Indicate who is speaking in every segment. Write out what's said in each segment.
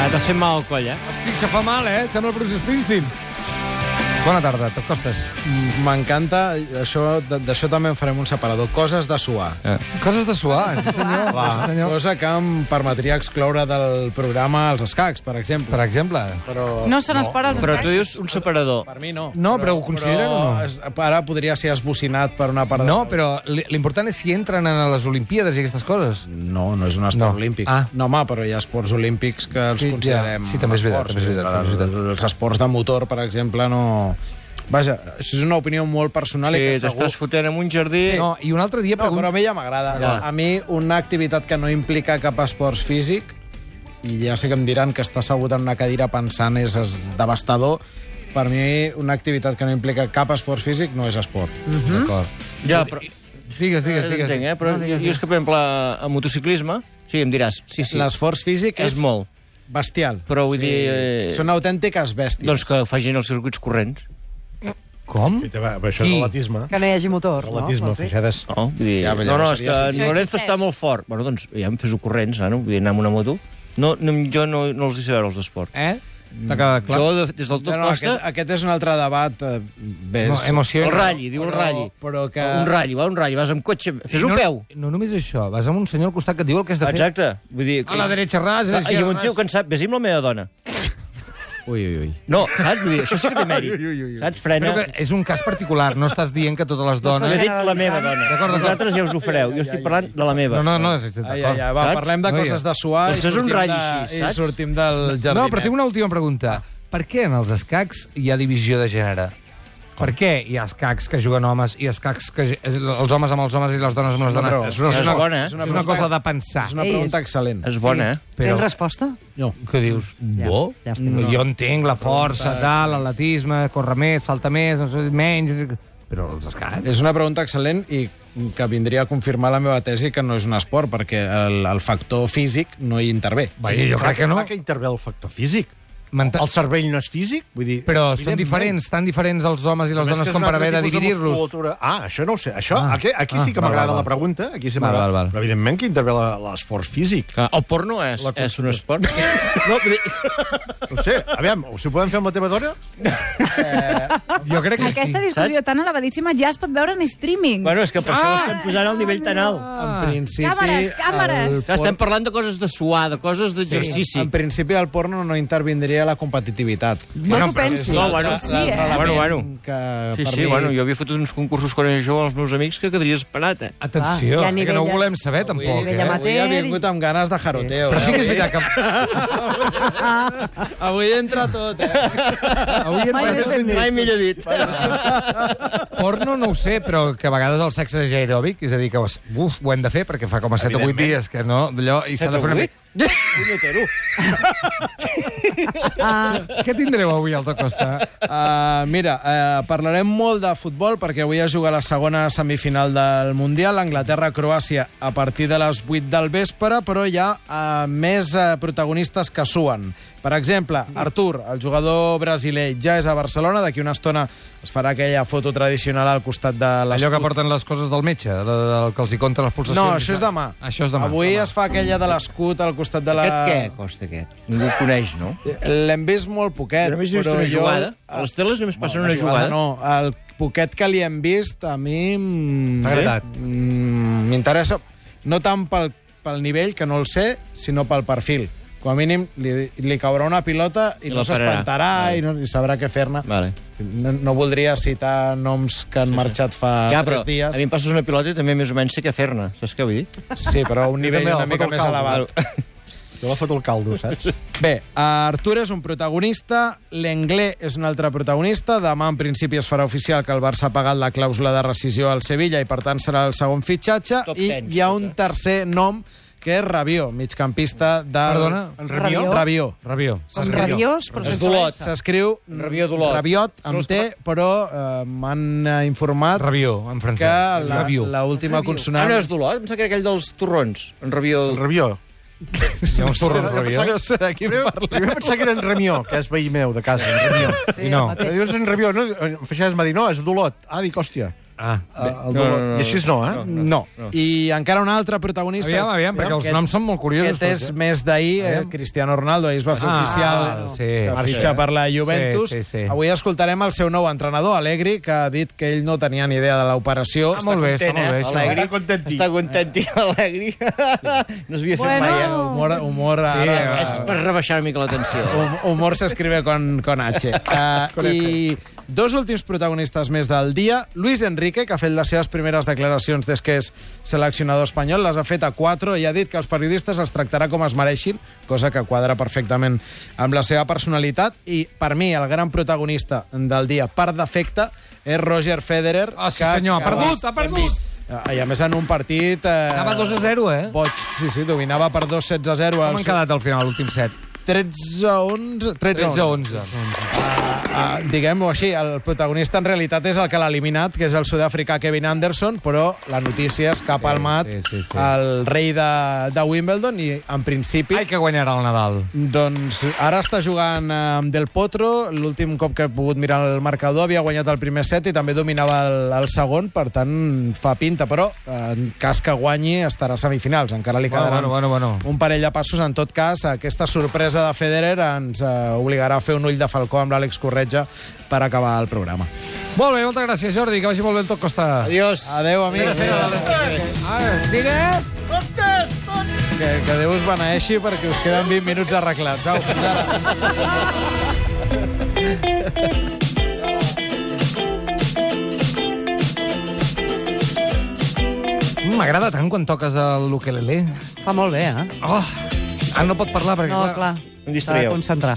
Speaker 1: Ah, T'has fet mal al coll, eh?
Speaker 2: Hosti, això fa mal, eh? Sembla el Bruce Springsteen. Bona tarda, tot costes.
Speaker 3: M'encanta, això- d- d'això també en farem un separador. Coses de suar.
Speaker 2: Eh. Coses de suar, sí senyor. Sí, senyor.
Speaker 3: Cosa que em permetria excloure del programa els escacs, per exemple.
Speaker 2: Per exemple.
Speaker 3: Però...
Speaker 4: No són esport als
Speaker 1: Però tu
Speaker 4: escacs.
Speaker 1: diuen un separador.
Speaker 3: Per mi no.
Speaker 2: No, però ho consideren o no?
Speaker 3: es- Ara podria ser esbocinat per una part... de-
Speaker 2: No, però li- l'important és si entren a les Olimpíades i aquestes coses.
Speaker 3: No, no és un esport
Speaker 2: No.
Speaker 3: no. olímpic.
Speaker 2: Ah.
Speaker 3: No, home, però hi ha esports olímpics que els
Speaker 2: Sí, ja.
Speaker 3: considerem
Speaker 2: Sí, també és veritat,
Speaker 3: esports.
Speaker 2: també és veritat, també és veritat.
Speaker 3: Els, els esports de motor, per exemple, no... Vaja, això és una opinió molt personal i
Speaker 1: Sí,
Speaker 3: que segur...
Speaker 1: t'estàs fotent en un jardí...
Speaker 2: No, i un altre dia
Speaker 3: No, però a
Speaker 2: pregunto...
Speaker 3: mi ja m'agrada.
Speaker 1: Ja.
Speaker 3: A mi una activitat que no implica cap esforç físic, i ja sé que em diran que està assegut en una cadira pensant és, és devastador, per mi una activitat que no implica cap esforç físic no és esport.
Speaker 1: Mhm.
Speaker 2: D'acord.
Speaker 1: Ja, però...
Speaker 2: Digues, digues,
Speaker 1: Digues,
Speaker 2: digues.
Speaker 1: Entenc, eh? Però
Speaker 2: No, digues,
Speaker 1: jo és
Speaker 2: digues.
Speaker 1: que, per exemple, a motociclisme, sí, em diràs, sí, sí,
Speaker 3: L'esforç físic és,
Speaker 1: és molt.
Speaker 3: bestial.
Speaker 1: Però vull dir... eh,
Speaker 3: Són autèntiques bèsties.
Speaker 1: Doncs que facin els circuits corrents.
Speaker 2: Com?
Speaker 5: Sí, va, això
Speaker 2: Qui?
Speaker 5: és atletisme.
Speaker 6: Que no hi hagi motor, no?
Speaker 5: Atletisme,
Speaker 6: Patrick?
Speaker 5: fixades.
Speaker 1: No, vull dir,
Speaker 3: Ja,
Speaker 1: no,
Speaker 3: però
Speaker 1: no,
Speaker 3: llavors
Speaker 1: és
Speaker 3: seria
Speaker 1: que
Speaker 3: senzill.
Speaker 1: en Lorenzo
Speaker 4: Això és
Speaker 1: està molt fort. Bueno, doncs ja em fes-ho corrents, nano. Vull dir, anar amb una moto. No, no, jo no, no els hi sé veure els esports.
Speaker 2: Eh? T'ha quedat clar?
Speaker 1: Jo, de- des del tot
Speaker 3: No, no,
Speaker 1: costa,
Speaker 3: aquest, aquest és un altre debat. eh, Bé,
Speaker 2: No,
Speaker 3: és-
Speaker 2: emoció.
Speaker 1: el ratlli, diu el ratlli.
Speaker 3: però que...
Speaker 1: Un ratlli, va, un ratlli, vas amb cotxe, fes un
Speaker 2: no,
Speaker 1: peu.
Speaker 2: No només això, vas amb un senyor al costat que et diu el que has de fer.
Speaker 1: Exacte. Vull dir...
Speaker 2: A la dreta ras, a
Speaker 1: Ah, I
Speaker 2: l'esquerra
Speaker 1: un tio
Speaker 2: ras.
Speaker 1: que en sap, vés amb la meva dona.
Speaker 3: Ui, ui, ui.
Speaker 1: No, saps? Vull dir, això sí que té mèrit. Saps? Frena.
Speaker 2: Però que és un cas particular, no estàs dient que totes les
Speaker 1: Jo
Speaker 2: dones...
Speaker 1: he dit la meva dona.
Speaker 2: D'acord, d'acord.
Speaker 1: Vosaltres ja us ho fareu. Jo estic parlant de la meva.
Speaker 2: No, no, no, és
Speaker 3: Ai, ai, ai, va,
Speaker 1: Saps?
Speaker 3: parlem de
Speaker 2: Noia.
Speaker 3: coses de suar
Speaker 1: Doncs
Speaker 3: i,
Speaker 1: és un
Speaker 3: sortim
Speaker 1: ratll
Speaker 3: de,
Speaker 1: així,
Speaker 3: i
Speaker 1: saps?
Speaker 3: sortim del jardí. eh.
Speaker 2: No, però tinc una última pregunta. Per què en els escacs hi ha divisió de gènere? Per què hi ha escacs que juguen homes i escacs que... eh, els homes amb els homes i les dones amb les dones?
Speaker 3: però-
Speaker 2: És una,
Speaker 1: és
Speaker 2: és una,
Speaker 1: bona, eh?
Speaker 2: és una, és una cosa de pensar.
Speaker 3: És una
Speaker 6: Ei,
Speaker 3: pregunta
Speaker 6: és-
Speaker 3: excel·lent.
Speaker 1: És bona, eh?
Speaker 2: Però-
Speaker 6: Tens resposta?
Speaker 2: No. Què dius?
Speaker 6: Ja,
Speaker 2: Bo?
Speaker 6: ja estem.
Speaker 2: no. Jo entenc la força, tal, l'atletisme, córrer més, salta més, no sé, menys... Però els escacs...
Speaker 3: És una pregunta excel·lent i que vindria a confirmar la meva tesi que no és un esport, perquè el, el factor físic no hi intervé.
Speaker 2: Vaja, jo crec que no.
Speaker 5: Clar que intervé el factor físic.
Speaker 2: M'ente-
Speaker 5: El cervell no és físic? Vull dir,
Speaker 2: Però són
Speaker 5: evidentment.
Speaker 2: diferents, tan diferents els homes i les
Speaker 5: Només que
Speaker 2: dones
Speaker 5: és
Speaker 2: com
Speaker 5: un
Speaker 2: per
Speaker 5: altre
Speaker 2: haver de
Speaker 5: tipus
Speaker 2: dividir-los.
Speaker 5: musculatura. Ah, això no ho sé. Això,
Speaker 2: Ah.
Speaker 5: aquí, aquí sí que
Speaker 2: Ah, val,
Speaker 5: m'agrada
Speaker 2: val,
Speaker 5: la
Speaker 2: val.
Speaker 5: pregunta. Aquí sí
Speaker 2: Val,
Speaker 5: m'agrada.
Speaker 2: val, val.
Speaker 5: Però evidentment que intervé la- l'esforç físic.
Speaker 1: El porno és, és un esport. No, vull dir,
Speaker 5: No sé, aviam, si ho podem fer amb la teva dona?
Speaker 2: Jo crec que sí.
Speaker 4: Aquesta discussió tan elevadíssima ja es pot veure en streaming.
Speaker 1: bueno, és que per això l'estem posant al nivell tan alt.
Speaker 3: En principi,
Speaker 4: Càmeres, càmeres.
Speaker 3: El
Speaker 1: Que estem
Speaker 3: por...
Speaker 1: parlant de coses de suar, de coses d'exercici.
Speaker 3: En principi, el porno no intervindria la competitivitat.
Speaker 6: No t'ho pensis.
Speaker 1: No, Ah, bueno,
Speaker 4: Sí, eh?
Speaker 1: bueno, bueno.
Speaker 3: Que
Speaker 1: Sí,
Speaker 3: per
Speaker 1: sí,
Speaker 3: mi...
Speaker 1: bueno, jo havia fotut uns concursos quan era jove als meus amics que quedaria esperat, eh?
Speaker 2: Atenció,
Speaker 6: Ah, hi ha
Speaker 2: ah, que no ho
Speaker 6: nivell-
Speaker 2: volem saber, tampoc.
Speaker 6: nivell
Speaker 2: Eh?
Speaker 6: amateur.
Speaker 3: Avui ha vingut amb ganes de jaroteo.
Speaker 2: Però sí que és
Speaker 3: eh?
Speaker 2: veritat que
Speaker 3: Avui entra tot, eh?
Speaker 2: avui en dia
Speaker 1: Mai millor dit.
Speaker 2: porno no ho sé, però que a vegades el sexe és aeròbic, és a dir, que ho- uf, ho hem de fer perquè fa com a 7 o 8 dies que no, d'allò, i s'ha de fer una mica...
Speaker 1: Punyetero.
Speaker 2: Ah. Què tindreu avui al Tocosta?
Speaker 3: Uh, mira, uh, parlarem molt de futbol perquè avui es juga la segona semifinal del Mundial, Anglaterra-Croàcia, a partir de les 8 del vespre, però hi ha uh, més uh, protagonistes que suen. Per exemple, Artur, el jugador brasiler, ja és a Barcelona, d'aquí una estona es farà aquella foto tradicional al costat de les...
Speaker 2: Allò que porten les coses del metge, el, el que els hi compten les pulsacions.
Speaker 3: No,
Speaker 2: i
Speaker 3: això és
Speaker 2: tal.
Speaker 3: demà.
Speaker 2: Això és demà.
Speaker 3: Avui
Speaker 2: demà.
Speaker 3: es fa aquella de l'escut al costat de la...
Speaker 1: Aquest què costa, aquest? Ningú el coneix, no?
Speaker 3: L'hem vist molt poquet,
Speaker 1: Només hi
Speaker 3: però
Speaker 1: una
Speaker 3: jo...
Speaker 1: jugada. A les teles només passen
Speaker 3: Una
Speaker 1: una jugada.
Speaker 3: No, el poquet que li hem vist a mi... mm,
Speaker 5: T'ha agradat?
Speaker 3: mm, M'interessa, no tant pel, pel nivell, que no el sé, sinó pel perfil. Com a mínim li, li caurà una pilota i,
Speaker 1: I
Speaker 3: no
Speaker 1: la pararà.
Speaker 3: s'espantarà i, no, i sabrà què fer-ne.
Speaker 1: Vale.
Speaker 3: No, no voldria citar noms que han marxat fa
Speaker 1: Ja, però
Speaker 3: tres dies.
Speaker 1: a mi em passes una pilota i també més o menys sé què fer-ne. Saps què vull dir?
Speaker 3: Sí, però a un nivell
Speaker 5: també,
Speaker 3: una
Speaker 5: el
Speaker 3: mica
Speaker 5: foto al
Speaker 3: més
Speaker 5: caldo.
Speaker 3: elevat.
Speaker 5: Jo la foto al caldo, saps?
Speaker 3: Bé, eh, Artur és un protagonista, l'Englé és un altre protagonista. Demà, en principi, es farà oficial que el Barça ha pagat la clàusula de rescisió al Sevilla i, per tant, serà el segon fitxatge.
Speaker 1: Top eh?
Speaker 3: I
Speaker 1: ten,
Speaker 3: hi ha un tercer nom, que és Rabió, migcampista de...
Speaker 2: Perdona?
Speaker 3: Rabió? Rabió.
Speaker 2: Rabió.
Speaker 6: Com rabiós, però sense
Speaker 1: Dolot.
Speaker 5: Ah.
Speaker 6: res.
Speaker 3: S'escriu
Speaker 1: Rabió d'Olot.
Speaker 3: Rabiot,
Speaker 1: Són
Speaker 3: amb
Speaker 1: els
Speaker 3: T, però eh, m'han eh, informat
Speaker 2: Rabió, en francès.
Speaker 3: que la-
Speaker 2: Rabió.
Speaker 3: la
Speaker 1: Ah,
Speaker 3: última consonant...
Speaker 1: no és Dolor? Em sembla que era aquell dels torrons. En Rabió...
Speaker 5: El Rabió.
Speaker 2: Hi ha un torró al Rabió.
Speaker 3: No sé de qui parla.
Speaker 5: Primer pensava que era en Ramió, que és veí meu de casa, en Ramió.
Speaker 6: Sí,
Speaker 2: I no.
Speaker 6: el mateix.
Speaker 5: Dius en Rabió, no? En Feixades m'ha dit, no, és d'Olot. Ah, dic, hòstia.
Speaker 2: Ah.
Speaker 5: Eh, el dolor.
Speaker 1: No, no, no.
Speaker 5: I així no, eh?
Speaker 3: No. I encara un altre protagonista...
Speaker 2: Aviam, aviam, perquè els
Speaker 3: Aquest-
Speaker 2: noms són molt curiosos.
Speaker 3: Aquest és
Speaker 2: tots, eh?
Speaker 3: més d'ahir, eh,
Speaker 2: Aviam.
Speaker 3: Cristiano Ronaldo, ahir es va fer
Speaker 2: Ah,
Speaker 3: oficial
Speaker 2: sí,
Speaker 3: que
Speaker 2: sí.
Speaker 3: fitxa per la Juventus.
Speaker 2: Sí, sí, sí.
Speaker 3: Avui escoltarem el seu nou entrenador, Allegri, que ha dit que ell no tenia ni idea de l'operació.
Speaker 2: Ah, molt bé, està
Speaker 1: eh?
Speaker 2: molt bé. això.
Speaker 1: Alegri.
Speaker 5: Està contentí.
Speaker 1: Està contentí, alegri. No s'havia fet
Speaker 4: Bueno.
Speaker 1: mai, eh?
Speaker 4: Oh.
Speaker 3: Humor, humor ara...
Speaker 2: eh,
Speaker 1: És per rebaixar una mica la tensió.
Speaker 3: Hum- Humor s'escribe con, con H. Uh, I dos últims protagonistes més del dia. Luis Enrique, que ha fet les seves primeres declaracions des que és seleccionador espanyol, les ha fet a 4 i ha dit que els periodistes els tractarà com es mereixin, cosa que quadra perfectament amb la seva personalitat. I per mi, el gran protagonista del dia, per defecte, és Roger Federer.
Speaker 2: Ah, sí, senyor, ha
Speaker 3: que-
Speaker 2: perdut, ha perdut.
Speaker 3: Ah, I a més en un partit... Eh,
Speaker 2: Anava 2 a 0, eh?
Speaker 3: Boig, sí, sí, dominava per 2 16 a 0.
Speaker 2: Com han quedat al final, l'últim set?
Speaker 3: 13 a 11... 13 a
Speaker 2: 13 a
Speaker 3: 11.
Speaker 2: 11.
Speaker 3: Ah, Diguem-ho així, el protagonista en realitat és el que l'ha eliminat, que és el sud-africà Kevin Anderson, però la notícia és que ha palmat
Speaker 2: sí, sí, sí.
Speaker 3: el rei de, de Wimbledon i, en principi,
Speaker 2: Ai, que guanyarà el Nadal.
Speaker 3: doncs ara està jugant eh, amb Del Potro. L'últim cop que he pogut mirar el marcador havia guanyat el primer set i també dominava el, el segon, per tant, fa pinta. Però, eh, en cas que guanyi, estarà a semifinals. Encara li
Speaker 2: Bueno,
Speaker 3: quedaran
Speaker 2: bueno, bueno, bueno.
Speaker 3: un parell de passos. En tot cas, aquesta sorpresa de Federer ens eh, obligarà a fer un ull de falcó amb l'Àlex Corretja per acabar el programa.
Speaker 2: Molt bé, moltes gràcies, Jordi. Que vagi molt bé el tot costa.
Speaker 1: Adiós.
Speaker 3: Adeu, amics.
Speaker 2: Ara, Digue!
Speaker 3: Que, que Déu us beneeixi perquè us queden 20 minuts arreglats. Au, fins ara.
Speaker 2: Mm, M'agrada tant quan toques el ukelele.
Speaker 6: Fa molt bé, eh?
Speaker 2: Oh! Ah, no pot parlar perquè...
Speaker 6: No, clar.
Speaker 1: Em
Speaker 6: S'ha de
Speaker 1: distraieu.
Speaker 6: concentrar.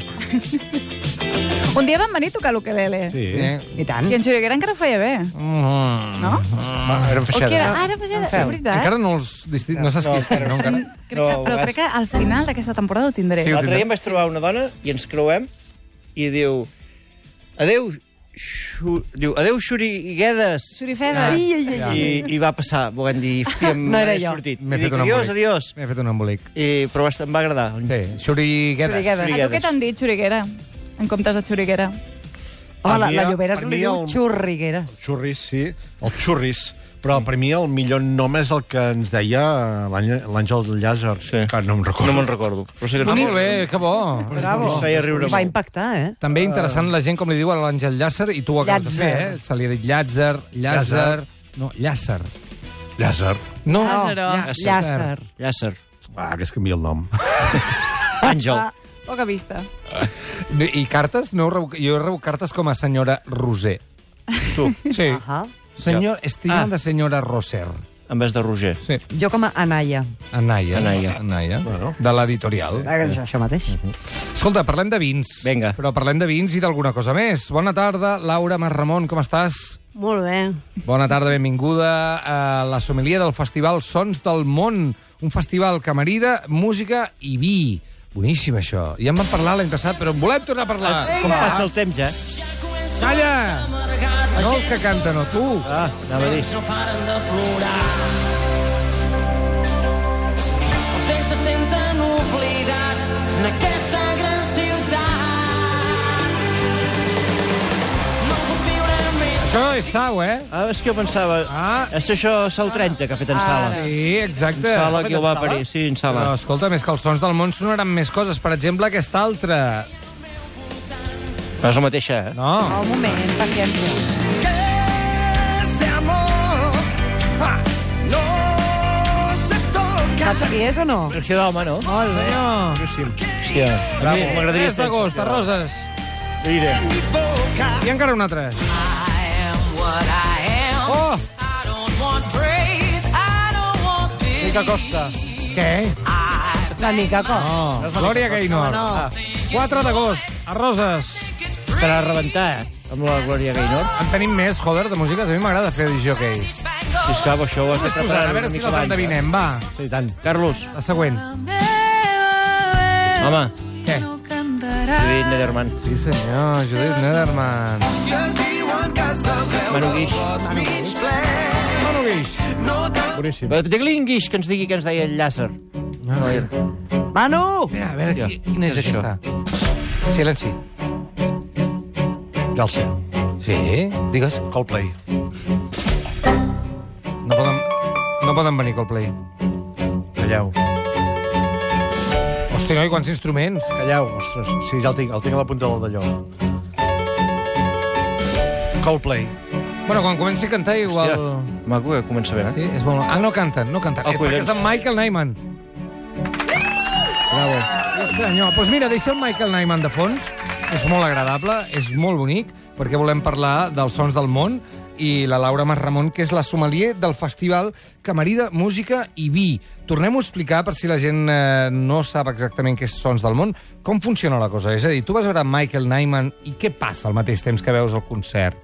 Speaker 4: Un dia vam venir a tocar l'ukelele. Sí.
Speaker 2: Eh?
Speaker 6: I tant.
Speaker 4: I en Xuriguera encara ho feia bé,
Speaker 2: Mm.
Speaker 4: no?
Speaker 5: Va, Era un
Speaker 4: O que
Speaker 5: feixet.
Speaker 4: era... Ah, era feixada, és veritat.
Speaker 2: Encara no els disti... No saps qui és qui, no? Encara.
Speaker 4: Crec
Speaker 1: No,
Speaker 4: que,
Speaker 1: a
Speaker 4: però
Speaker 1: vegades-
Speaker 4: crec que al final d'aquesta temporada ho tindré.
Speaker 2: Sí, ho
Speaker 1: L'altre dia em vaig trobar una dona i ens creuem i diu... Adeu, xu... diu, adeu, xuriguedes.
Speaker 4: Xurifedes.
Speaker 6: Ai, ai, ai, ai.
Speaker 1: I, I va passar, volent dir, hòstia,
Speaker 6: No era
Speaker 1: m'he
Speaker 6: jo.
Speaker 1: sortit.
Speaker 2: M'he
Speaker 1: I
Speaker 2: fet
Speaker 1: dic,
Speaker 2: un
Speaker 1: adiós,
Speaker 2: embolic.
Speaker 1: adiós.
Speaker 2: M'he fet un embolic.
Speaker 1: I, però va estar- em va agradar.
Speaker 2: Sí, xuriguedes.
Speaker 6: Xuriguedes.
Speaker 4: A tu què t'han dit, Xuriguera? En comptes de Xuriguera.
Speaker 6: Oh, la,
Speaker 5: mi
Speaker 6: la
Speaker 5: el-
Speaker 6: Lloberes
Speaker 5: per
Speaker 6: li
Speaker 5: mi
Speaker 6: diu
Speaker 5: el-
Speaker 6: xurrigueres.
Speaker 5: Xurris, sí. El xurris. Però per mi el millor nom és el que ens deia l'Àngel- l'Àngel Llàzer,
Speaker 1: Sí.
Speaker 5: que no em recordo.
Speaker 1: No me'n recordo. Però sé que
Speaker 2: Ah, molt bé, que bo.
Speaker 6: Bravo.
Speaker 1: Us feia riure
Speaker 6: Us va
Speaker 1: molt.
Speaker 6: impactar, eh?
Speaker 1: Ah.
Speaker 2: També interessant la gent, com li diu a l'Àngel Llàcer, i tu ho acabes de fer,
Speaker 6: Llàtzer.
Speaker 2: eh? Se li ha dit Llàtzer, Llàtzer... No, Llàcer.
Speaker 5: Llàzer.
Speaker 2: No,
Speaker 4: Llàcero.
Speaker 6: Ah, Llàcer.
Speaker 1: Llàcer.
Speaker 5: Va, que es canvia el nom.
Speaker 1: Àngel.
Speaker 4: Poca vista.
Speaker 2: No, I cartes? No, rebo- jo rebo cartes com a senyora Roser.
Speaker 1: Tu,
Speaker 2: Sí.
Speaker 6: Ahà.
Speaker 2: Senyor, estic ah.
Speaker 1: Ah.
Speaker 2: de senyora Roser.
Speaker 1: en vez de Roger.
Speaker 2: Sí.
Speaker 6: Jo com a Anaya.
Speaker 2: Anaya.
Speaker 1: Anaya.
Speaker 2: Anaya. Bueno. De l'editorial.
Speaker 6: Això, això mateix.
Speaker 2: Escolta, parlem de vins.
Speaker 1: Vinga.
Speaker 2: Però parlem de vins i d'alguna cosa més. Bona tarda, Laura Marramon, com estàs?
Speaker 6: Molt bé.
Speaker 2: Bona tarda, benvinguda a la sommelier del Festival Sons del Món, un festival que marida música i vi. Boníssim, això. Ja en vam parlar l'any passat, però en volem tornar a parlar.
Speaker 1: Com passa el temps, eh?
Speaker 2: Calla! No el que canta, no, tu.
Speaker 1: Ah, anava a dir.
Speaker 7: no paren de plorar. Els vells se senten oblidats en aquesta gran ciutat. No puc viure més.
Speaker 2: Això és sau, eh?
Speaker 1: Ah, és que pensava...
Speaker 2: Ah.
Speaker 1: És això Sal 30 que ha fet en Sala.
Speaker 2: Sí, exacte.
Speaker 1: Sala, qui ho va parir? Sí, en Sala.
Speaker 2: Però escolta, més que els sons del món sonaran més coses. Per exemple, aquesta altra.
Speaker 1: No és la mateixa, eh?
Speaker 2: No.
Speaker 6: Un moment, paciència.
Speaker 7: Este amor
Speaker 6: Ah,
Speaker 7: no se toca.
Speaker 6: Saps qui és o no?
Speaker 1: Tracció d'home, no?
Speaker 2: Molt bé. No.
Speaker 1: Hòstia, bravo, m'agradaria
Speaker 2: 3
Speaker 1: estar...
Speaker 2: d'agost, a Roses. I encara una altra.
Speaker 7: I am what I am.
Speaker 2: Oh!
Speaker 7: I don't want praise. I don't want pity.
Speaker 2: Mica Costa. Què?
Speaker 7: I
Speaker 6: La Mica Costa.
Speaker 2: No. Glòria Gaynor. No. 4 d'agost, a Roses.
Speaker 1: Per a rebentar, eh? Amb la Glòria Gaynor.
Speaker 2: En tenim més, joder, de músiques. A mi m'agrada fer jockey.
Speaker 1: Si és que això ho has de preparar
Speaker 2: A veure
Speaker 1: una
Speaker 2: si
Speaker 1: mica
Speaker 2: les
Speaker 1: abans. eh?
Speaker 2: endevinem, va.
Speaker 1: Sí, i tant. Carlos,
Speaker 2: La següent.
Speaker 1: home,
Speaker 2: Què?
Speaker 1: Judit Nederman.
Speaker 2: Sí, senyor, Judit Nederman.
Speaker 1: Manu Guix.
Speaker 2: Manu Guix.
Speaker 5: Boníssim.
Speaker 1: Va, Digue-li en Guix que ens digui que ens deia el Llàcer.
Speaker 6: Manu!
Speaker 2: Mira, a veure, qui- quina és
Speaker 1: Què és
Speaker 2: aquesta? Silenci.
Speaker 5: Ja el sé.
Speaker 2: Sí, digues.
Speaker 5: Coldplay.
Speaker 2: no poden venir Coldplay.
Speaker 5: Calleu,
Speaker 2: Hosti, noi, quants instruments.
Speaker 5: calleu. Ostres, sí, ja el tinc, el tinc a la punta del d'allò. Coldplay.
Speaker 2: Bueno, quan comenci a cantar, igual...
Speaker 1: Hòstia, maco que comença bé, eh?
Speaker 2: Sí, és molt... Ah, no canten, no canten.
Speaker 1: Ah,
Speaker 2: Eh, perquè
Speaker 1: collons.
Speaker 2: és en Michael Nyman. Bravo. Senyor, doncs mira, deixa el Michael Nyman de fons. És molt agradable, és molt bonic, perquè volem parlar dels sons del món i la Laura Masramon, que és la sommelier del festival Camarida, Música i Vi. Tornem-ho a explicar, per si la gent eh, no sap exactament què és Sons del Món, com funciona la cosa. És a dir, tu vas veure Michael Nyman i què passa al mateix temps que veus el concert?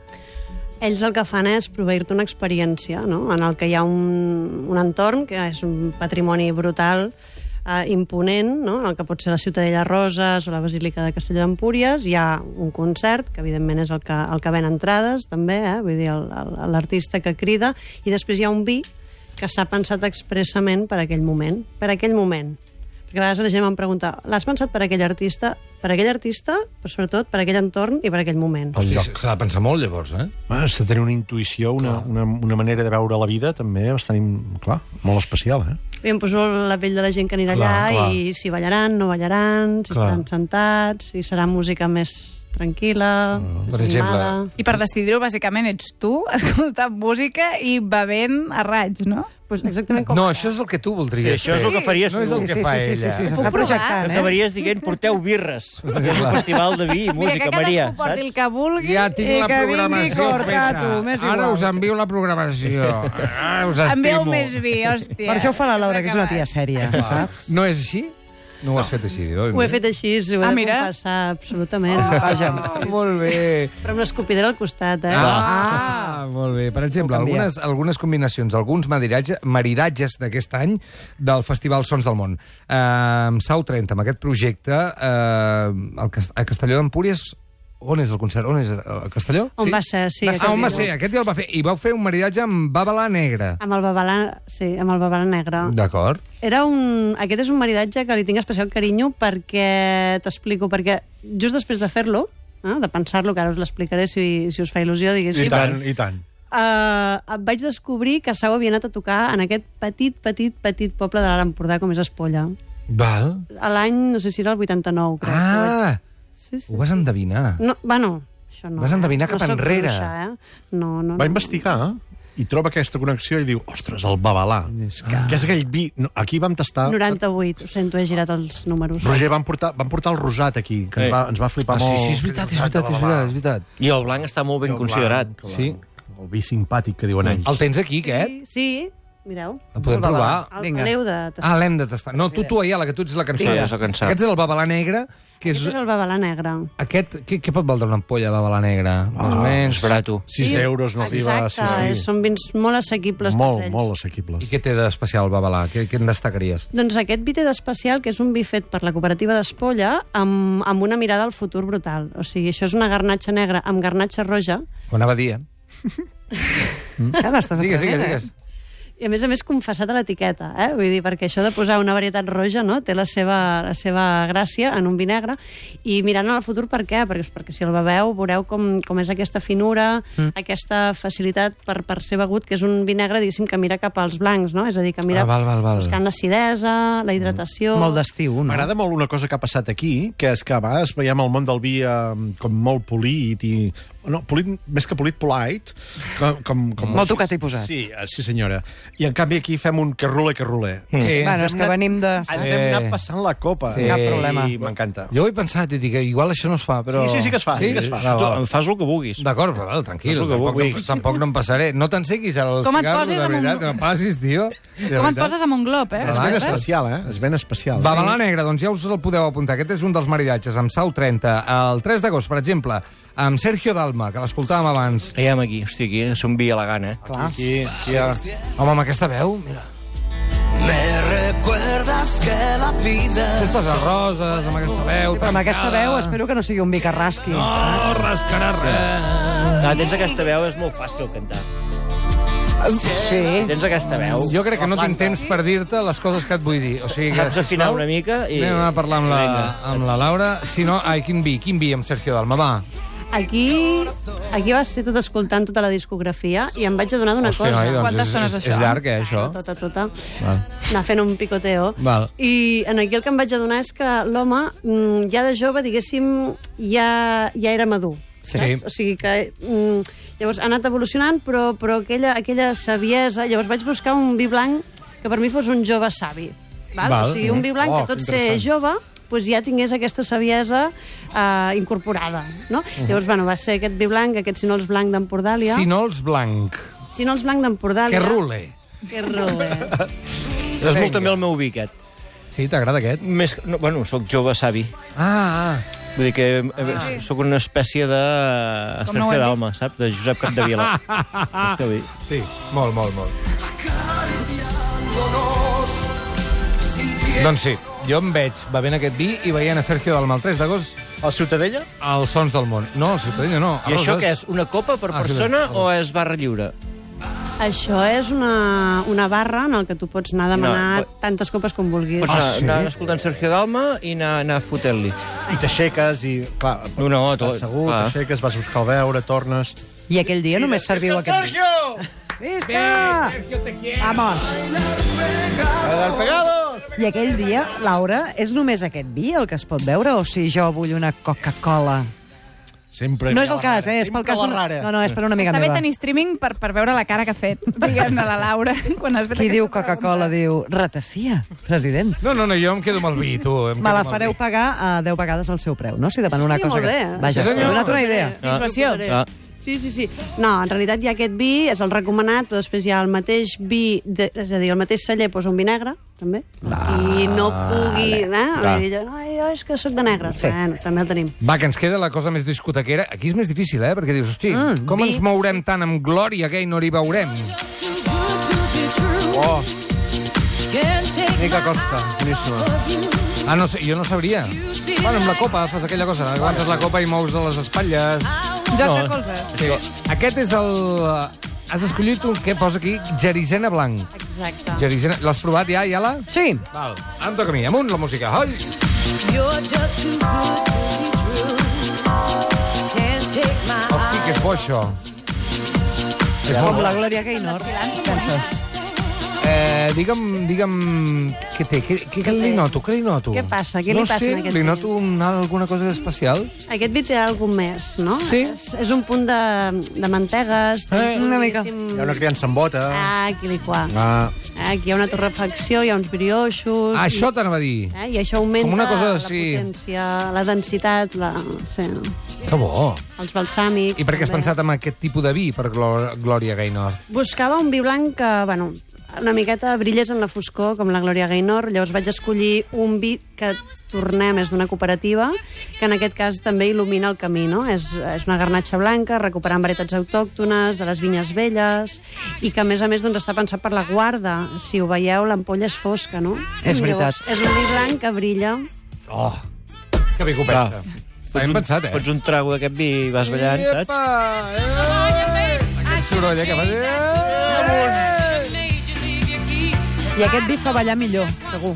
Speaker 6: Ells el que fan és proveir-te una experiència, no? en el que hi ha un, un entorn que és un patrimoni brutal, eh, imponent, no? en el que pot ser la Ciutadella Roses o la Basílica de Castelló d'Empúries. Hi ha un concert, que evidentment és el que, el que ven entrades, també, eh? vull dir, el- el- l'artista que crida, i després hi ha un vi que s'ha pensat expressament per aquell moment. Per aquell moment. Perquè a vegades la gent em pregunta, l'has pensat per aquell artista? Per aquell artista, però sobretot per aquell entorn i per aquell moment.
Speaker 2: Hosti, s'ha de pensar molt, llavors, eh?
Speaker 5: Ah, Has de tenir una intuïció, una, una, una manera de veure la vida també bastant, im- clar, molt especial, eh?
Speaker 6: I em poso la pell de la gent que anirà
Speaker 5: Clar,
Speaker 6: allà
Speaker 5: clar.
Speaker 6: i si ballaran, no ballaran, si
Speaker 2: Clar.
Speaker 6: estaran sentats, si serà música més tranquil·la, més
Speaker 2: Per exemple.
Speaker 6: animada.
Speaker 4: I per decidir-ho, bàsicament, ets tu, escoltant música i bevent a raig, no?
Speaker 6: Pues exactament com...
Speaker 2: No, això és el que tu
Speaker 1: Sí,
Speaker 2: voldries
Speaker 1: això és el que faries
Speaker 2: No és el
Speaker 1: tu.
Speaker 2: que fa ella.
Speaker 4: Ho
Speaker 6: s'està
Speaker 4: provarà?
Speaker 6: projectant, eh?
Speaker 1: Acabaries dient, porteu birres. que és un festival de vi i música,
Speaker 4: Mira, que
Speaker 1: Maria,
Speaker 4: cadascú porti el
Speaker 1: saps?
Speaker 4: que vulgui.
Speaker 2: Ja tinc la
Speaker 6: I eh, que vingui
Speaker 2: programació
Speaker 6: Corcato,
Speaker 2: feta.
Speaker 6: m'és
Speaker 2: Ara
Speaker 6: igual.
Speaker 2: us envio la programació. Ara us
Speaker 4: Em veu
Speaker 2: estimo.
Speaker 4: més vi, hòstia.
Speaker 6: Per això ho fa la Laura, que és una tia
Speaker 4: Acabat.
Speaker 6: sèria, saps?
Speaker 2: No és així? No ho has fet així, oi?
Speaker 6: Ho he fet així, ho he
Speaker 4: Ah,
Speaker 6: de
Speaker 4: mira.
Speaker 6: confessar, absolutament.
Speaker 2: Ah, molt bé.
Speaker 6: Però amb l'escopidera al costat, eh?
Speaker 2: Ah, molt bé. Per exemple,
Speaker 6: Ho canvia.
Speaker 2: algunes, algunes combinacions, alguns maridatge, maridatges d'aquest any del Festival Sons del Món. Eh, amb Sau 30, amb aquest projecte, eh, al Cas- a Castelló d'Empúries, on és el concert? On és? A Castelló?
Speaker 6: On va ser, sí,
Speaker 2: Ah,
Speaker 6: aquest
Speaker 2: on va
Speaker 6: dia.
Speaker 2: ser? Aquest dia el va fer. I vau fer un maridatge amb Babalà Negra.
Speaker 6: Amb el babalà, sí, amb el babalà negre.
Speaker 2: D'acord.
Speaker 6: Era un... Aquest és un maridatge que li tinc especial carinyo perquè... T'explico, perquè just després de fer-lo, eh, de pensar-lo, que ara us l'explicaré si, si us fa il·lusió,
Speaker 5: I
Speaker 6: diguéssim,
Speaker 5: tant, i tant.
Speaker 6: eh, vaig descobrir que Sau havia anat a tocar en aquest petit, petit, petit poble de l'Alt Empordà, com és Espolla.
Speaker 2: Val.
Speaker 6: A l'any, no sé si era el 89, crec.
Speaker 2: Ah,
Speaker 6: sí, sí.
Speaker 2: ho vas endevinar.
Speaker 6: No, bueno, això no.
Speaker 2: Vas endevinar cap
Speaker 6: no soc
Speaker 2: enrere.
Speaker 6: Bruixa, eh? No, no.
Speaker 5: Va
Speaker 6: no.
Speaker 5: investigar i troba aquesta connexió i diu, ostres, el babalà, que... que és aquell vi... No, aquí vam tastar...
Speaker 6: 98, ho sento, he girat els números.
Speaker 5: Roger, vam portar, vam portar el rosat aquí, que
Speaker 1: Sí.
Speaker 5: ens va, ens va flipar
Speaker 2: Ah, sí,
Speaker 5: molt.
Speaker 2: sí, és veritat, és veritat, és veritat, és veritat.
Speaker 1: I el blanc està molt ben considerat.
Speaker 5: Sí. El vi simpàtic que diuen ells.
Speaker 2: El tens aquí, aquest?
Speaker 6: Sí, sí, mireu.
Speaker 2: El podem provar?
Speaker 6: El, l'heu de tastar.
Speaker 2: Ah, l'hem de tastar. No, tu, tu, allà, la que tu ets la
Speaker 1: Sí,
Speaker 2: cansada.
Speaker 1: jo sóc cansada.
Speaker 2: Aquest és el babalà negre, que és...
Speaker 6: Aquest és el babalà negre.
Speaker 2: Aquest, què, què pot valdre una ampolla de babalà negra? Ah, més
Speaker 1: És
Speaker 2: o menys.
Speaker 1: barato.
Speaker 5: 6 euros no arriba a
Speaker 6: Exacte, és-
Speaker 5: 6.
Speaker 6: són vins molt assequibles tots
Speaker 5: Molt,
Speaker 6: ells.
Speaker 5: molt assequibles.
Speaker 2: I què té d'especial el babalà? Què, què en destacaries?
Speaker 6: Doncs aquest vi té d'especial, que és un vi fet per la cooperativa d'Espolla, amb, amb una mirada al futur brutal. O sigui, això és una garnatxa negra amb garnatxa roja,
Speaker 2: Ho anava a dir, eh?
Speaker 4: Mm.
Speaker 6: Ja l'estàs
Speaker 2: Digues, digues, digues.
Speaker 6: i a més a més confessat a l'etiqueta, eh? vull dir, perquè això de posar una varietat roja no? té la seva, la seva gràcia en un vi negre, i mirant al futur per què? Perquè, perquè si el beveu veureu com, com és aquesta finura, mm. aquesta facilitat per, per ser begut, que és un vi negre, diguéssim, que mira cap als blancs, no? és a dir, que mira
Speaker 2: Ah, val, val, val.
Speaker 6: buscant l'acidesa, la hidratació...
Speaker 8: Molt eh? d'estiu, no?
Speaker 5: M'agrada molt una cosa que ha passat aquí, que és que a vegades veiem el món del vi eh, com molt polit i... No, polit, més que polit, polite. Com, com, com
Speaker 8: Molt tocat i posat.
Speaker 5: Sí, eh, sí senyora. I en canvi aquí fem un que rule, que rule. Mm.
Speaker 2: Sí.
Speaker 8: Bueno, és que venim de...
Speaker 5: Ens hem anat passant la copa.
Speaker 2: Sí. Cap
Speaker 8: problema.
Speaker 5: I m'encanta.
Speaker 2: Jo ho he pensat i dic, "Eh, igual això no es fa, però...
Speaker 5: Sí, sí, sí que es fa, sí que es fa.
Speaker 2: Val,
Speaker 1: Tu
Speaker 2: val.
Speaker 1: em fas el que vulguis.
Speaker 2: D'acord, però val, tranquil,
Speaker 1: És el que
Speaker 2: tampoc, no,
Speaker 1: vulguis.
Speaker 2: tampoc no em passaré. No t'ensequis el
Speaker 4: Com et
Speaker 2: cigarro,
Speaker 4: poses
Speaker 2: de
Speaker 4: amb un-
Speaker 2: veritat, no passis, tio. De
Speaker 4: Com et
Speaker 2: veritat.
Speaker 4: poses amb un glob, eh?
Speaker 5: És ben
Speaker 2: Vaja.
Speaker 5: especial, eh? És ben especial.
Speaker 2: Babalà Negra, doncs ja us el podeu apuntar. Aquest és un dels maridatges, amb Sau 30. El 3 d'agost, per exemple, amb Sergio Dalma, que l'escoltàvem abans.
Speaker 1: Caiem aquí, hosti, aquí és un vi elegant, eh?
Speaker 5: Aquí, aquí, aquí.
Speaker 2: Home, amb aquesta veu, mira.
Speaker 9: Me recuerdas que la vida
Speaker 2: Totes les roses, amb aquesta veu...
Speaker 8: Però amb aquesta
Speaker 2: tancada.
Speaker 8: veu espero que no sigui un bicarrasqui.
Speaker 2: No rascarà res.
Speaker 1: Ah, tens aquesta veu, és molt fàcil cantar.
Speaker 8: Sí.
Speaker 1: Tens aquesta veu.
Speaker 2: Jo crec que no tinc temps per dir-te les coses que et vull dir. O sigui que,
Speaker 1: Saps afinar
Speaker 2: sisplau,
Speaker 1: una mica i...
Speaker 2: Anem a parlar amb la,
Speaker 1: Eh, Vinga.
Speaker 2: amb la Laura. Si no, ai, quin vi, quin vi amb Sergio Dalma, va.
Speaker 6: Aquí aquí va ser tot escoltant tota la discografia i em vaig adonar d'una
Speaker 2: Hòstia,
Speaker 6: cosa.
Speaker 2: noi, doncs
Speaker 4: Quantes
Speaker 2: és,
Speaker 4: tones
Speaker 2: és, és
Speaker 4: això?
Speaker 2: llarg, eh, això?
Speaker 6: Tota, tota. Anar fent un picoteo.
Speaker 2: Val.
Speaker 6: I en aquí el que em vaig adonar és que l'home, mm, ja de jove, diguéssim, ja, ja era madur.
Speaker 2: Sí.
Speaker 6: saps? O sigui que... Mm, llavors ha anat evolucionant, però, però aquella, aquella saviesa... Llavors vaig buscar un vi blanc que per mi fos un jove savi. Val?
Speaker 2: Val.
Speaker 6: O sigui, un vi blanc
Speaker 5: Oh,
Speaker 6: que tot
Speaker 5: que
Speaker 6: ser
Speaker 5: interessant.
Speaker 6: jove pues ja tingués aquesta saviesa eh, incorporada. No? Llavors, bueno, va ser aquest vi blanc, aquest Sinols Blanc d'Empordàlia.
Speaker 2: Sinols blanc.
Speaker 6: Sinols Blanc d'Empordàlia.
Speaker 2: Que rule.
Speaker 6: Que eh? rule.
Speaker 1: És molt també el meu vi, aquest.
Speaker 2: Sí, t'agrada aquest?
Speaker 1: Més, que- no, bueno, sóc jove savi.
Speaker 2: Ah, ah.
Speaker 1: Vull dir que eh, sóc una espècie de
Speaker 4: Com no ho
Speaker 1: Sergio
Speaker 4: hem
Speaker 1: Dalma, saps? De Josep Capdevila. És que bé.
Speaker 2: Sí, molt, molt, molt. Doncs sí, jo em veig bevent aquest vi i veient a Sergio Dalma el 3 d'agost
Speaker 5: El Ciutadella?
Speaker 2: als Sons del Món. No, al Ciutadella no. a
Speaker 1: I això
Speaker 2: Roses.
Speaker 1: què és? Una copa per
Speaker 2: Ah, sí,
Speaker 1: persona
Speaker 2: sí.
Speaker 1: o és barra lliure?
Speaker 6: Això és una, una barra en el que tu pots anar a demanar
Speaker 1: No,
Speaker 6: no,
Speaker 1: pot-
Speaker 6: tantes copes com vulguis.
Speaker 1: Pots anar,
Speaker 2: sí?
Speaker 1: anar escoltant Sergio Dalma i anar, anar fotent-li.
Speaker 5: I t'aixeques i... Clar,
Speaker 1: No, no,
Speaker 5: estàs
Speaker 1: tot,
Speaker 5: segur,
Speaker 1: clar.
Speaker 5: t'aixeques, vas a buscar el beure, tornes...
Speaker 8: I aquell dia només serviu aquest vi. Visca! Vamos! I aquell dia, Laura, és només aquest vi el que es pot veure o si jo vull una Coca-Cola?
Speaker 5: Sempre
Speaker 8: No
Speaker 5: hi ha
Speaker 8: és el
Speaker 5: la
Speaker 8: cas,
Speaker 5: rara.
Speaker 8: eh? És pel
Speaker 5: Sempre
Speaker 8: cas
Speaker 5: la
Speaker 8: d'una-
Speaker 5: rara.
Speaker 8: No, no, és per una amiga
Speaker 4: Està bé
Speaker 8: meva.
Speaker 4: tenir streaming per, per veure la cara que ha fet, diguem-ne, la Laura. Quan has fet
Speaker 8: Qui diu
Speaker 4: aquesta
Speaker 8: Coca-Cola diu ratafia, president.
Speaker 2: No, no, no, jo em quedo amb el vi, tu. Em
Speaker 8: Me
Speaker 2: quedo
Speaker 8: la
Speaker 2: amb el
Speaker 8: fareu
Speaker 2: vi.
Speaker 8: pagar a 10 vegades el seu preu, no? Si demano una
Speaker 6: Sí,
Speaker 8: cosa
Speaker 6: molt bé,
Speaker 8: que...
Speaker 6: eh?
Speaker 8: Vaja,
Speaker 2: Sí, senyor.
Speaker 8: m'he donat una idea.
Speaker 4: Dissuasió.
Speaker 1: Ah.
Speaker 6: Sí, sí, sí. No, en realitat hi ha aquest vi, és el recomanat, però després hi ha el mateix vi, de, és a dir, el mateix celler posa un vi negre, també, i no pugui... Eh? I jo, no, jo és que sóc de negre.
Speaker 8: Sí.
Speaker 6: Sí. Bueno, també el tenim.
Speaker 2: Va, que ens queda la cosa més discotequera. Aquí és més difícil, eh? Perquè dius, hosti,
Speaker 8: Ah,
Speaker 2: mm, com ens mourem tant amb glòria que hi no hi veurem?
Speaker 5: Oh, Mica Costa, boníssima.
Speaker 2: Ah, no sé, jo no sabria. Bueno, amb la copa fas aquella cosa. Aguantes la copa i mous de les espatlles.
Speaker 4: Joc de colzes.
Speaker 2: Sí. Aquest és el... eh, Has escollit un que posa aquí, Gerizena Blanc.
Speaker 6: Exacte.
Speaker 2: Gerizena... L'has provat ja, Iala?
Speaker 8: Sí,
Speaker 2: Val, em toca a mi. Amunt, la música. Holl! Hosti, que és bo, això. És
Speaker 8: com
Speaker 2: bo.
Speaker 8: la Glòria Gaynor. Penses,
Speaker 2: Eh, digue'm, digue'm... Què té? Què, què, què li noto? Què li noto?
Speaker 6: Què passa? Què li
Speaker 2: no
Speaker 6: passa
Speaker 2: sé,
Speaker 6: en aquest
Speaker 2: li
Speaker 6: moment?
Speaker 2: noto una, alguna cosa especial.
Speaker 6: Aquest vi té alguna més, no?
Speaker 2: Sí.
Speaker 6: És, és un punt de, de mantegues.
Speaker 2: Eh,
Speaker 8: una mica.
Speaker 5: Hi ha una criança amb bota.
Speaker 6: Ah, aquí li qua.
Speaker 5: Ah.
Speaker 6: Aquí hi ha una torrefacció, hi ha uns brioixos...
Speaker 2: Ah,
Speaker 6: i-
Speaker 2: això t'anava a dir.
Speaker 6: Eh? I això augmenta
Speaker 2: Com una cosa,
Speaker 6: la
Speaker 2: sí.
Speaker 6: potència, la densitat, la, sí,
Speaker 2: Que bo.
Speaker 6: els balsàmics...
Speaker 2: I per què has
Speaker 6: també.
Speaker 2: pensat en aquest tipus de vi per Glò- Glòria Gaynor?
Speaker 6: Buscava un vi blanc que, bueno, una miqueta brillés en la foscor, com la Glòria Gaynor. Llavors vaig escollir un vi que tornem, és d'una cooperativa, que en aquest cas també il·lumina el camí, no? És, és una garnatxa blanca, recuperant varietats autòctones, de les vinyes velles, i que, a més a més, doncs, està pensat per la guarda. Si ho veieu, l'ampolla és fosca, no?
Speaker 8: És veritat.
Speaker 6: Llavors, és un vi blanc que brilla.
Speaker 2: Oh, que bé que ho pensa. Ho hem pensat, eh?
Speaker 1: Fots un trago d'aquest vi i vas ballant, saps?
Speaker 2: Epa! Eh! Aquest soroll, eh, que fas... Eh!
Speaker 8: I aquest vi fa ballar millor, segur.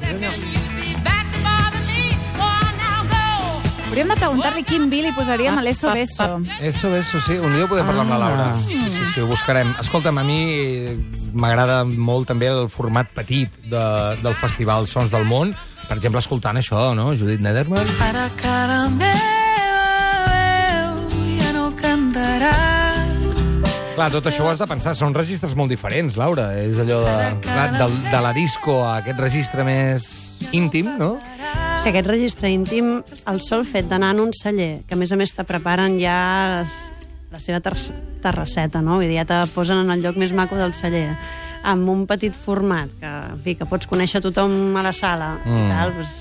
Speaker 4: Hauríem de preguntar-li quin vi li posaríem a l'Eso Beso.
Speaker 2: Eso, eso, sí. Un dia ho podem parlar amb la
Speaker 6: Ah.
Speaker 2: Laura. Sí, sí, sí, ho buscarem. Escolta'm, a mi eh, m'agrada molt també el format petit de, del festival Sons del Món. Per exemple, escoltant això, no? Judith Nederman.
Speaker 7: Para cara meva veu ja no cantarà.
Speaker 2: Clar, tot això ho has de pensar. Són registres molt diferents, Laura. És allò de, clar, de, de la disco a aquest registre més íntim, no?
Speaker 6: Si aquest registre íntim, el sol fet d'anar en un celler, que a més a més te preparen ja les- la seva ter terrasseta, no? Vull dir, ja te posen en el lloc més maco del celler, amb un petit format, que, en fi, que pots conèixer tothom a la sala, mm. i, tal, doncs,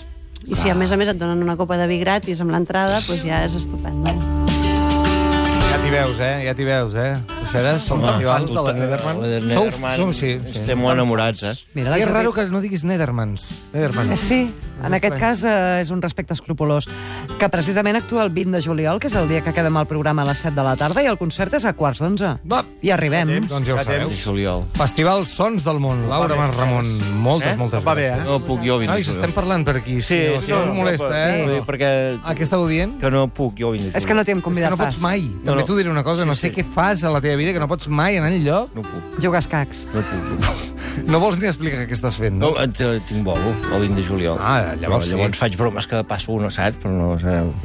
Speaker 6: i si a més a més et donen una copa de vi gratis amb l'entrada, doncs ja és estupendo.
Speaker 2: Ja t'hi veus, eh? Ja t'hi veus, eh? Brussel·les, al
Speaker 1: Ah.
Speaker 2: festival.
Speaker 5: fans de la Nederman.
Speaker 2: Sou-
Speaker 1: Nederman,
Speaker 2: som- sí, sí.
Speaker 1: Estem molt enamorats, eh?
Speaker 8: Mira, la
Speaker 2: és
Speaker 8: Judit-
Speaker 2: raro que no diguis Nedermans.
Speaker 8: Eh,
Speaker 5: Nederman.
Speaker 8: Sí, en
Speaker 2: estrany.
Speaker 8: aquest cas eh, és un respecte escrupolós, que precisament actua el 20 de juliol, que és el dia que quedem al programa a les 7 de la tarda, i el concert és a quarts d'11.
Speaker 2: Va.
Speaker 8: I arribem.
Speaker 2: Doncs ja ho sabeu.
Speaker 1: Juliol.
Speaker 2: Festival Sons del Món. Laura Mas Ramon, moltes,
Speaker 1: Eh?
Speaker 2: moltes
Speaker 5: Va bé, eh?
Speaker 2: gràcies.
Speaker 1: No puc jo, 20
Speaker 2: Nois, estem parlant per aquí.
Speaker 1: Sí,
Speaker 2: si no,
Speaker 1: sí,
Speaker 2: si no us
Speaker 1: no,
Speaker 2: molesta,
Speaker 1: però-
Speaker 2: eh?
Speaker 1: Sí, perquè...
Speaker 2: Ah, Què estàveu dient?
Speaker 1: Que no puc jo, 20 de
Speaker 8: És que no
Speaker 1: juliol.
Speaker 8: t'hi hem
Speaker 2: És que
Speaker 8: convidat
Speaker 2: no pots
Speaker 8: pas.
Speaker 2: mai.
Speaker 1: No,
Speaker 2: També
Speaker 1: no.
Speaker 2: t'ho diré una cosa, no
Speaker 1: Sí,
Speaker 2: sé
Speaker 1: sí.
Speaker 2: què fas a la teva vida, que no pots mai anar enlloc.
Speaker 1: No puc,
Speaker 8: Jugar a escacs.
Speaker 1: no puc.
Speaker 2: No vols ni explicar què estàs fent,
Speaker 1: No,
Speaker 2: no?
Speaker 1: eh, t- tinc bolo, el 20 de juliol.
Speaker 2: Ah, llavors sí.
Speaker 1: llavors faig bromes que passo, no saps? Però no,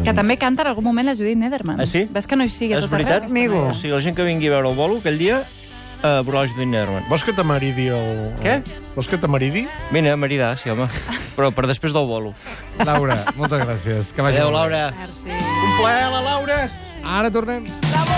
Speaker 4: Que també canta en algun moment la Judit Nederman.
Speaker 1: Ah, sí?
Speaker 4: Ves que no hi sigui a
Speaker 1: és
Speaker 4: tot
Speaker 1: veritat?
Speaker 4: arreu. aquesta noia.
Speaker 1: O sigui, la gent que vingui a veure el bolo aquell dia, eh, brola Judit Nerman.
Speaker 5: Vols que t'amaridi el...
Speaker 1: Què?
Speaker 5: Vols que t'amaridi?
Speaker 1: Vine a maridar, sí, home. Però per després del bolo.
Speaker 2: Laura, moltes gràcies. Que vagi
Speaker 1: Adéu,
Speaker 2: molt bé.
Speaker 1: Laura.
Speaker 6: Merci.
Speaker 5: Un plaer, la Laura!
Speaker 2: Ara tornem.